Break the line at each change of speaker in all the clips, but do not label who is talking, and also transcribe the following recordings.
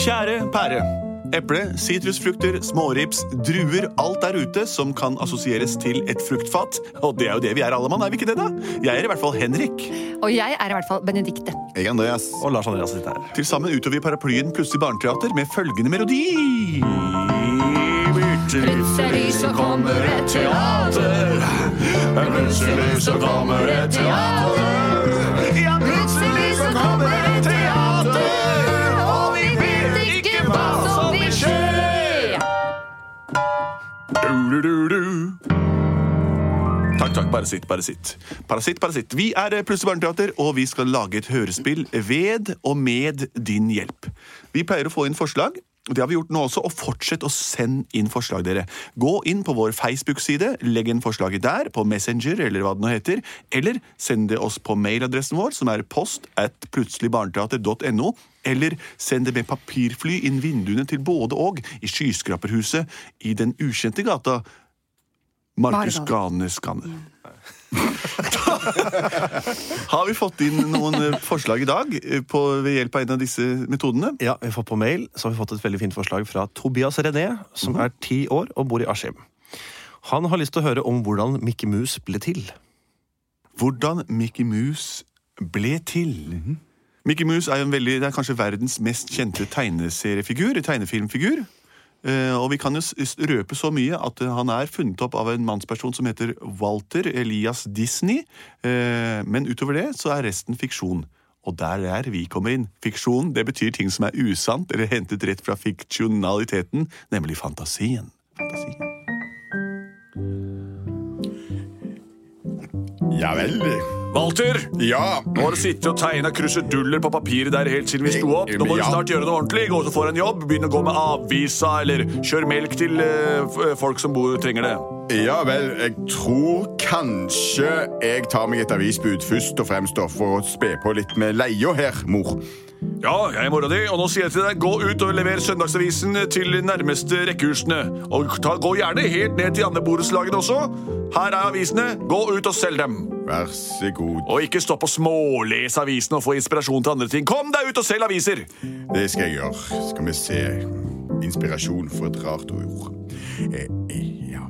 Kjære pære. Eple, sitrusfrukter, smårips, druer, alt der ute som kan assosieres til et fruktfat. Og det er jo det vi er alle mann, er vi ikke det da? Jeg er i hvert fall Henrik.
Og jeg er i hvert fall Benedikte.
Jeg Andreas.
Og Lars Andreas sitter her. Til sammen utøver vi paraplyen Plutselig barneteater med følgende melodi.
Plutselig så kommer et teater.
Plutselig så kommer et teater. Ja, plutselig så kommer et teater. Og vi vet ikke hva som vil skje. Du-du-du-du. Takk, takk. Bare sitt, bare sitt. Parasitt, parasitt. Vi er eh, Plutselig barneteater, og vi skal lage et hørespill ved og med din hjelp. Vi pleier å få inn forslag. og Det har vi gjort nå også, og fortsett å sende inn forslag, dere. Gå inn på vår Facebook-side, legg inn forslaget der, på Messenger eller hva det nå heter, eller send det oss på mailadressen vår, som er post at plutseligbarneteater.no, eller send det med papirfly inn vinduene til både og, i skyskraperhuset i den ukjente gata Markus Ganes Ganne. Har vi fått inn noen eh, forslag i dag eh, på, ved hjelp av en av disse metodene?
Ja, vi har fått på mail så har vi fått et veldig fint forslag fra Tobias René, som
Mhm.
er ti år og bor i Askim. Han har lyst til å høre om hvordan Mikke Mus ble til.
Hvordan Mickey Mouse ble til. Mickey Mouse er, jo en veldig, det er kanskje verdens mest kjente tegneseriefigur, tegnefilmfigur. Eh, Og vi kan jo s- s- røpe så mye at eh, han er funnet opp av en mannsperson som heter Walter Elias Disney. Eh, Men utover det så er resten fiksjon. Og der er vi kommer inn. Fiksjon det betyr ting som er usant eller hentet rett fra fiksjonaliteten, nemlig fantasien. fantasien.
Ja vel.
Walter,
Ja.
nå har du sittet og tegna kruseduller på papiret der helt siden vi sto opp. Nå må du
Ja.
snart gjøre noe ordentlig. Gå så får en jobb. Begynn å gå med avisa, eller kjør melk til eh, f- folk som bor, trenger det.
Ja vel, jeg tror kanskje jeg tar meg et avisbud først og fremst da, for å spe på litt med leia her, mor.
Ja, jeg er mora di, og nå sier jeg til deg, gå ut og lever Søndagsavisen til de nærmeste rekkehusene. Og ta, gå gjerne helt ned til de andre borettslagene også. Her er avisene. Gå ut og selg dem.
Vær så god.
Og ikke stopp å smålese avisene og få inspirasjon til andre ting. Kom deg ut og selg aviser!
Det skal jeg gjøre. Skal vi se. Inspirasjon for et rart ord. Eh, eh, ja.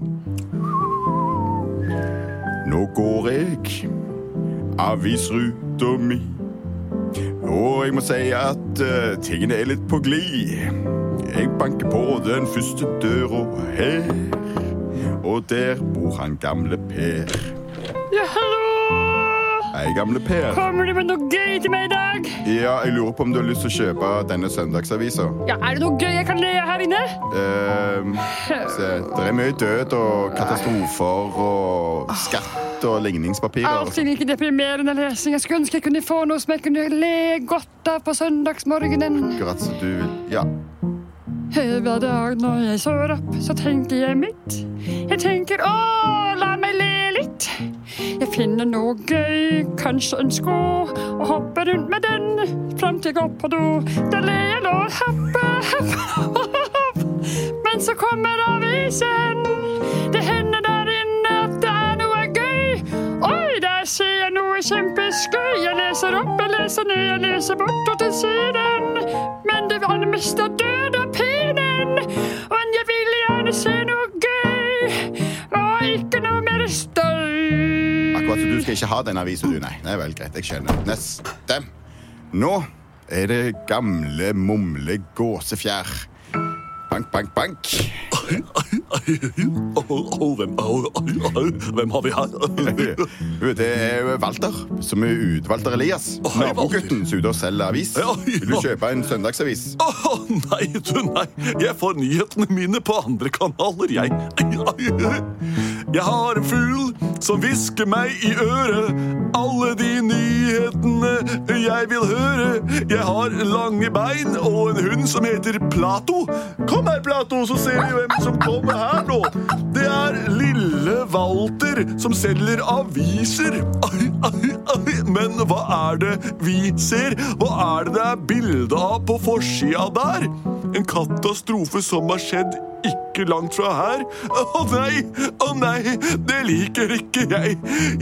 Nå går jeg avisruta mi. Og jeg må si at eh, tingene er litt på glid. Jeg banker på den første døra her, og der bor han gamle Per.
Ja, hallo!
Hei, gamle Per.
Kommer du med noe gøy til meg i dag?
Ja, jeg lurer på om du har lyst til å kjøpe denne søndagsavisa.
Ja, Er det noe gøy jeg kan le av her inne?
Ehm, se, det er mye død og katastrofer og skatt og ligningspapirer. og
Alltid like deprimerende lesing. Jeg skulle ønske jeg kunne få noe som jeg kunne le godt av på søndagsmorgenen.
Akkurat som du vil. Ja.
Hver dag når jeg står opp, så tenker jeg mitt. Jeg tenker å, la meg le litt. Jeg finner noe gøy, kanskje en sko, og hopper rundt med den fram til jeg går på do. Da ler jeg nå, hoppe, hoppe, hopp. Men så kommer avisen. Det hender der inne at det er noe gøy. Oi, der ser jeg noe kjempeskøy. Jeg leser opp, jeg leser ned, jeg leser bort og til siden. Men det var det meste død av penen. Men jeg ville gjerne se noe gøy. Og ikke noe mer støy.
Akkurat som du skal ikke ha den avisa, du. Nei, det er vel greit. Jeg skjønner. Neste. Nå er det gamle mumle gåsefjær. Bank, bank, bank.
Hvem, hvem har vi her?
Du, Det er jo Walter, som er utvalgter Elias.
Å, hei,
Nabogutten som er ute og selger avis.
Ja, ja.
Vil du kjøpe en søndagsavis?
Å nei, du nei. Jeg får nyhetene mine på andre kanaler, jeg. Jeg har en fugl som hvisker meg i øret. Alle de nyhetene jeg vil høre. Jeg har lange bein og en hund som heter Plato. Kom her, Plato, så ser vi hvem som kommer her nå. Det er lille Walter som selger aviser. Men hva er det vi ser? Hva er det det er bilde av på forsida der? En katastrofe som har skjedd ikke langt fra her. Å nei, å nei, det liker ikke jeg.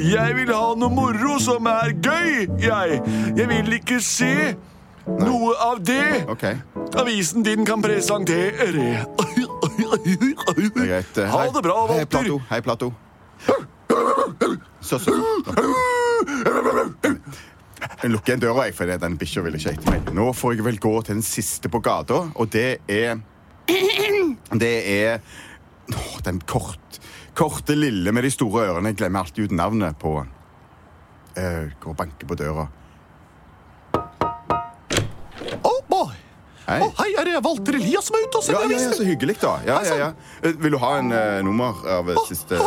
Jeg vil ha noe moro som er gøy, jeg. Jeg vil ikke se noe av det.
Ok.
Avisen din kan presentere.
Det er greit.
Ha
Hei.
det bra,
Hei,
Walter.
Plato. Hei, Plato. Så, så, så. Jeg lukker igjen døra, jeg, for det- den bikkja vil ikke etter meg. Nå får jeg vel gå til den siste på gata, og det er Det er Åh, den kort, korte lille med de store ørene. Jeg glemmer alltid ut navnet på uh, Går og banker på døra.
Oh, boy.
Hei.
Å, hei, sånn. er det Walter Elias som er ute og
Ja,
selger
ja, ja, så
aviser?
hyggelig, da. Ja, ja, ja. Eh, Vil du ha en eh, nummer av eh, siste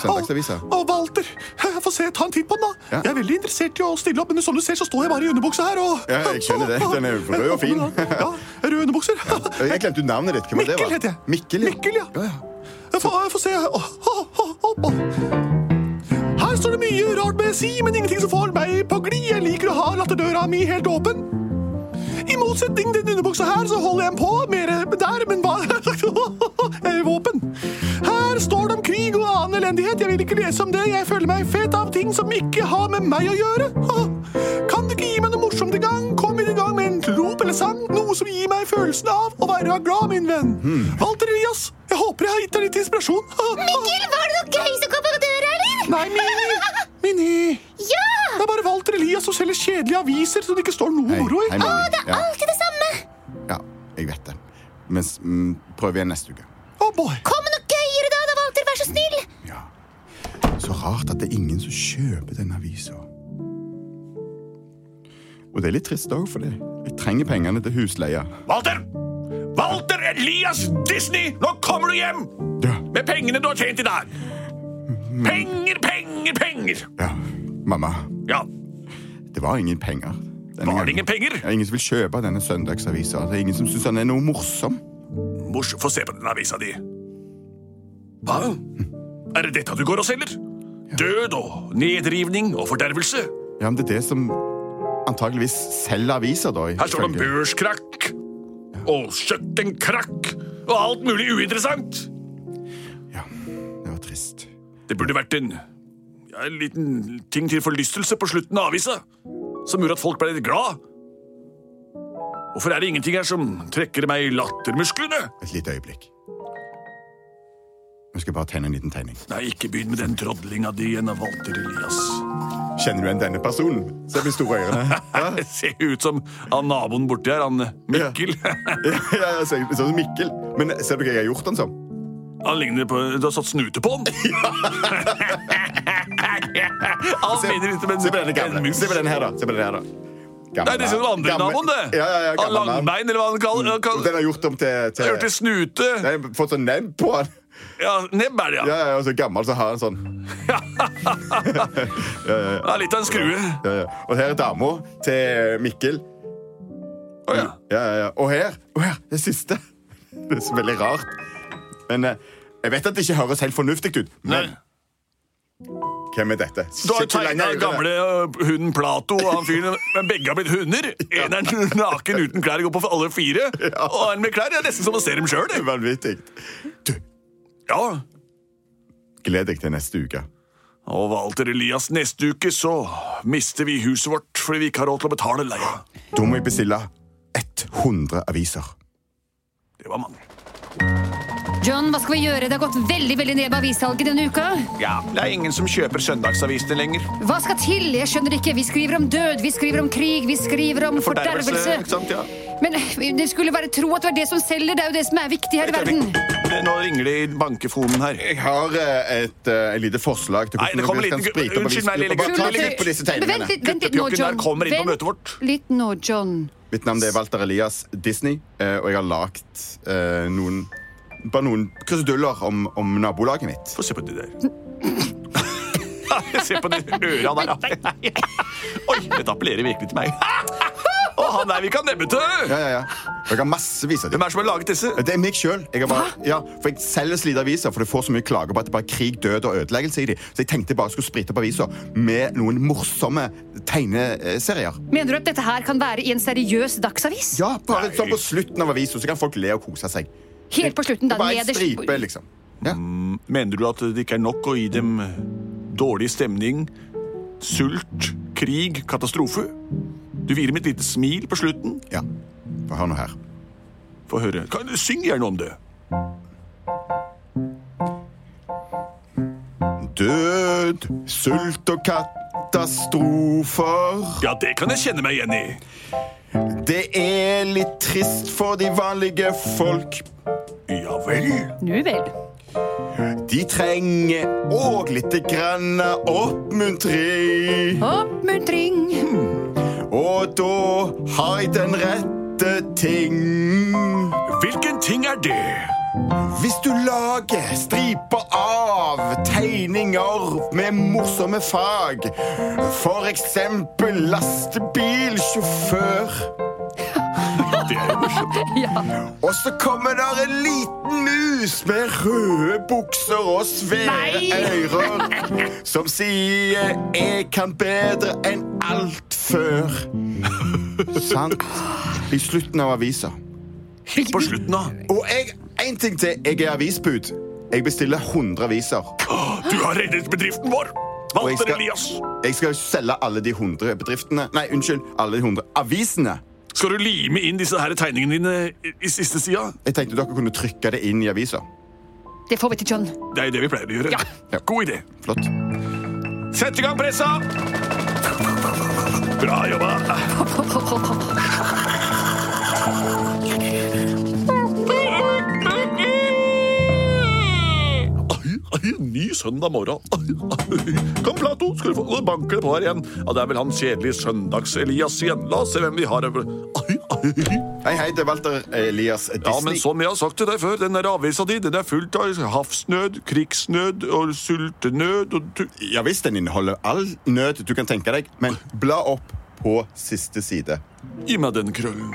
søndagsavisa?
Å, Walter, jeg får se, ta en titt på den, da.
Ja.
Jeg er veldig interessert i å stille opp, men som du ser, så står jeg bare i underbuksa her. Og...
Ja, jeg skjønner det. Den er jo rød og fin.
Ja, røde underbukser.
Jeg glemte jo navnet ditt. Hvem var det?
Mikkel
var?
heter jeg.
Mikkel, ja.
Mikkel, ja.
Ja, ja.
Jeg får, jeg får se. Å, å, å, å, å. Her står det mye rart med si, men ingenting som får meg på glid. Jeg liker å ha latterdøra mi helt åpen. I motsetning til denne buksa her, så holder jeg den på mer der, men hva Jeg er våpen. Her står det om krig og annen elendighet. Jeg vil ikke lese om det. Jeg føler meg fet av ting som ikke har med meg å gjøre. Kan du ikke gi meg noe morsomt i gang? Kom i gang med en rop eller sang. Noe som gir meg følelsen av å være glad, min venn. Walter Elias, jeg håper jeg har gitt deg litt inspirasjon.
Mikkel, var det noe gøy som kom på døra, eller?
Nei, Mini. Mini.
Ja!
Det er bare Walter Elias som selger kjedelige aviser som det ikke står noe
Hei,
moro i.
hei, Mimi.
Å, det er
ja.
alltid det samme.
ja, jeg vet det. Men s- mm, prøv igjen neste uke.
Å, boy.
Kom med noe gøyere da, da, Walter. Vær så snill.
Ja. Så rart at det er ingen som kjøper denne avisa. Og det er litt trist òg, for det. jeg trenger pengene til husleie.
Walter! Walter Elias Disney, nå kommer du hjem!
Ja.
Med pengene du har tjent i dag.
Mm.
Penger, penger, penger.
ja. Mamma,
Ja,
det var ingen penger. denne
var
gangen.
det ingen penger?
Det er ingen som vil kjøpe denne søndagsavisa. Det er ingen som syns den er noe morsom.
Mors, få se på den avisa di. Hva? Er det dette du går og selger? Død og nedrivning og fordervelse.
Ja, men det er det som antageligvis selger aviser, da.
Her står det om
ifølge-
børskrakk og kjøkkenkrakk og alt mulig uinteressant.
Ja, det var trist.
Det burde vært en, ja, en liten ting til forlystelse på slutten av avisa, som gjorde at folk ble litt glad. Hvorfor er det ingenting her som trekker meg i lattermusklene?
Et lite øyeblikk. Nå skal jeg bare tegne en liten tegning.
Nei, ikke begynn med den trodlinga di igjen av Walter Elias.
Kjenner du igjen denne personen? Se på de store ørene.
Det ser jo ut som han naboen borti her, han Mikkel.
ja, ja, ser- Sånn som Mikkel. Men ser du hva jeg har gjort han som?
Han ligner på Du har satt snute på han. han
Se,
minner litt om en,
se på denne
en
gamle.
mus.
Se på denne her, da. Se på denne her, da.
Det
Gammel
er liksom den andre
gammel-
naboen, det.
Ja, ja, ja,
han
gammel navn. Mm.
Langbein, eller hva han kaller han kaller-
Den har gjort om til,
Jeg hørte
til
snute.
Nei, jeg har Fått sånn nebb på han.
Ja, Nebb er det, ja.
Ja, ja, ja, og så gammel så har han sånn.
ja. Litt av en skrue.
Ja, ja. Og her er dama til Mikkel.
Å, ja.
Ja, ja, ja. Og her, og her, det siste. Det er så veldig rart. Men eh, jeg vet at det ikke høres helt fornuftig ut. Men
Nei.
hvem er dette?
Du har
Shit, hvor lenge
tegna
er det?
gamle ø, hunden Plato og han fyren, men begge har blitt hunder. En er naken uten klær, går på for alle fire. Og en med klær. Det er nesten som å se dem sjøl.
Det er Vanvittig.
Ja.
Gled deg til neste uke.
Og Walter Elias, neste uke så mister vi huset vårt fordi vi ikke har råd til å betale leia.
Da må jeg bestille 100 aviser.
Det var mange.
John, hva skal vi gjøre? Det har gått veldig veldig ned med avissalget denne uka.
Ja, det er ingen som kjøper søndagsavisene lenger.
Hva skal til? Jeg skjønner ikke. Vi skriver om død, vi skriver om krig, vi skriver om fordervelse.
ikke sant? Ja.
Men eh, det skulle være tro at det var det som selger. Det er jo det som er viktig her i verden.
Det Eh, Nå ringer det i bankefonen her.
Jeg har eh, et, eh, et lite forslag til
Nei, det
hvordan
kommer
vi kan
liten-
sprite opp
unnskyld meg, lille gutt.
avisgruppa. Bare ta
Vent
litt på disse
Men
tegningene.
Vent litt, vent litt nå,
Guttepjokken
John.
der kommer inn på
Vent
møtet vårt.
litt nå, John.
Mitt navn det er Walter Elias Disney, eh, og jeg har lagd eh, noen bare noen kruseduller om, om nabolaget mitt.
Få se på de der. Nei, se på de øra der, da. Nei. Oi, dette appellerer virkelig til meg. Å, han der vi kan nebbe til!
Ja, ja, ja. Og jeg har massevis av
Hvem
dem.
er det som har laget disse?
Det er meg sjøl. Ja, for jeg selger så lite aviser, for det får så mye klager på at det bare er krig, død og ødeleggelse i dem. Så jeg tenkte jeg bare skulle sprite opp aviser med noen morsomme tegneserier.
Mener du at dette her kan være i en seriøs dagsavis?
Ja, bare sånn på slutten av avisen, så kan folk le og kose seg.
Helt på slutten, da.
Det er bare en
nederst-
stripe, liksom. Ja.
Mener du at det ikke er nok å gi dem eh, dårlig stemning, sult, krig, katastrofe? Du vier dem et lite smil på slutten.
ja. Få høre nå her.
Få høre. Kan, syng gjerne om det.
Død, sult og katastrofer.
Ja, det kan jeg kjenne meg igjen i.
Det er litt trist for de vanlige folk.
Ja vel.
Nu vel.
De trenger òg lite grann oppmuntring.
Oppmuntring.
Og da har jeg den rette ting.
Hvilken ting er det?
Hvis du lager striper av tegninger med morsomme fag, for eksempel lastebilsjåfør
Det er jo morsomt.
Og så kommer der en liten mus med røde bukser og svære ører som sier 'jeg kan bedre enn alt før'. Sant? I slutten av avisa.
Helt på slutten, da.
Og jeg, en ting til. Jeg er avisbud. Jeg bestiller 100 aviser.
Du har reddet bedriften vår.
Og jeg
Walter
skal-
Elias.
Jeg skal selge alle de 100 bedriftene Nei, unnskyld. Alle de 100 avisene.
Skal du lime inn disse her tegningene dine i, i siste sida?
Jeg tenkte dere kunne trykke det inn i avisa.
Det får vi til John.
Det er jo det vi pleier å gjøre.
Ja.
God idé.
Flott.
Sett i gang pressa! Bra jobba. Ai, ai, ny søndag morgen. Ai, ai. Kom, Plato, skal du få Nå banker det på her igjen. Ja, Det er vel han kjedelige Søndags-Elias igjen. La oss se hvem vi har her. Ai, ai.
Hei, hei, det er Walter Elias Disney.
Ja, men som jeg har sagt til deg før, den der avisa di den er fullt av havsnød, krigsnød og sultenød og tu...
Ja visst, den inneholder all nød du kan tenke deg, men bla opp på siste side.
Gi meg den krøllen.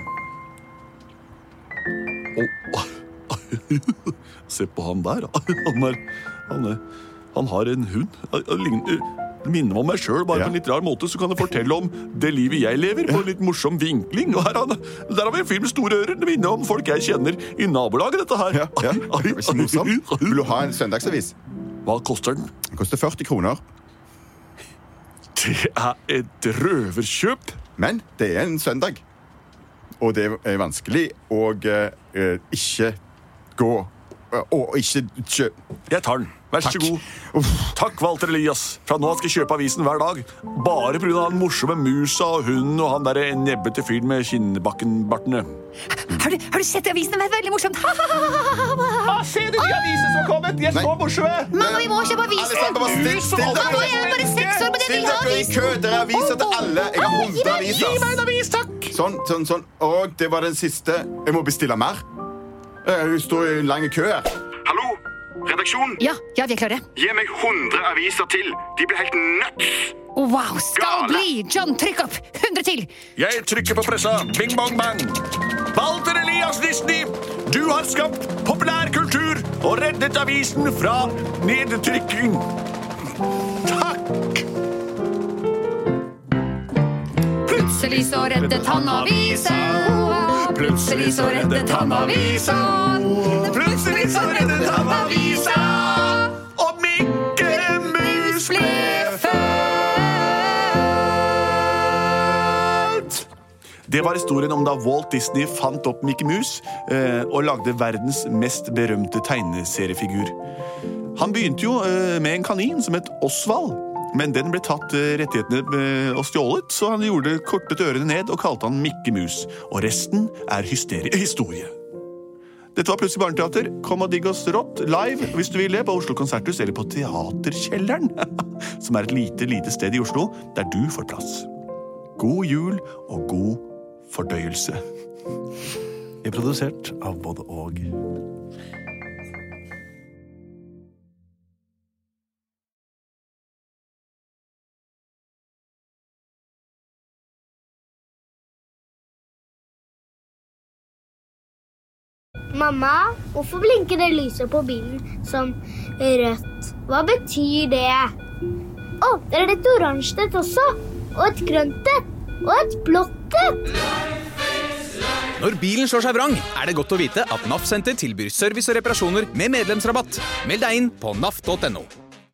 Å, Se på han der. Han, er, han, er, han har en hund. Han ligner, minner meg om meg sjøl, bare
Ja.
på en litt rar måte. Så kan jeg fortelle om det livet jeg lever, på en litt morsom vinkling. Og her, er han, der har vi en fyr med store ører. Det minner om folk jeg kjenner i nabolaget, dette her.
Ja, ja. Det var ikke morsomt. Vil du ha en søndagsavis?
Hva koster den?
Den koster 40 kroner,
Det er et røverkjøp.
men det er en søndag. Og det er vanskelig å eh, eh, ikke gå eh, Og ikke kjø...
Jeg tar den. Vær så
Takk.
god. Takk, Walter Elias. Fra nå av skal jeg kjøpe avisen hver dag. Bare pga. den morsomme musa og hunden og han derre nebbete fyren med kinnbakkenbartene.
Har du, har du sett avisen? Det er veldig morsomt. Ha, ha, ha, ha, ha, ha.
Se de nye aviser som har kommet! De er
Nei.
så morsomme!
Mamma, vi må kjøpe avis!
Alle sammen, bare still, still
Mamma,
dere!
jeg er bare seks år, men jeg
Still
vil ha
dere i
avis!
kø! Dere har aviser til alle. Jeg har 100
Gi meg en
aviser.
avis, takk!
Sånn, sånn, sånn. Og det var den siste. Jeg må bestille mer. Eh, Jeg står i en lang kø her.
Hallo? Redaksjon,
Ja, ja, vi er klare.
gi meg 100 aviser til. De blir helt nuts!
Wow, skal
Gale.
bli! John, trykk opp! 100 til!
Jeg trykker på pressa. Bing, bong, bang. Walter Elias Disney, du har skapt populærkultur og reddet avisen fra nedtrykking. Takk!
Plutselig så reddet han avisa. Plutselig så reddet han avisa.
Plutselig så reddet han avisa, og Mikke Mus ble født. Det var historien om da Walt Disney fant opp Mikke Mus eh, og lagde verdens mest berømte tegneseriefigur. Han begynte jo eh, med en kanin som het Osvald. Men den ble tatt eh, rettighetene eh, og stjålet, så han gjorde kortet ørene ned og kalte han Mikke Mus. Og resten er hysteri- historie. Dette var Plutselig barneteater. Kom og digg oss rått live hvis du vil det, på Oslo Konserthus eller på Teaterkjelleren, som er et lite, lite sted i Oslo der du får plass. God jul og god fordøyelse.
Er produsert av både og.
Mamma, hvorfor blinker det lyset på bilen som rødt? Hva betyr det? Å, det er et oransje et også. Og et grønt et. Og et blått et.
Når bilen slår seg vrang, er det godt å vite at NAF-senter tilbyr service og reparasjoner med medlemsrabatt. Meld deg inn på naf.no.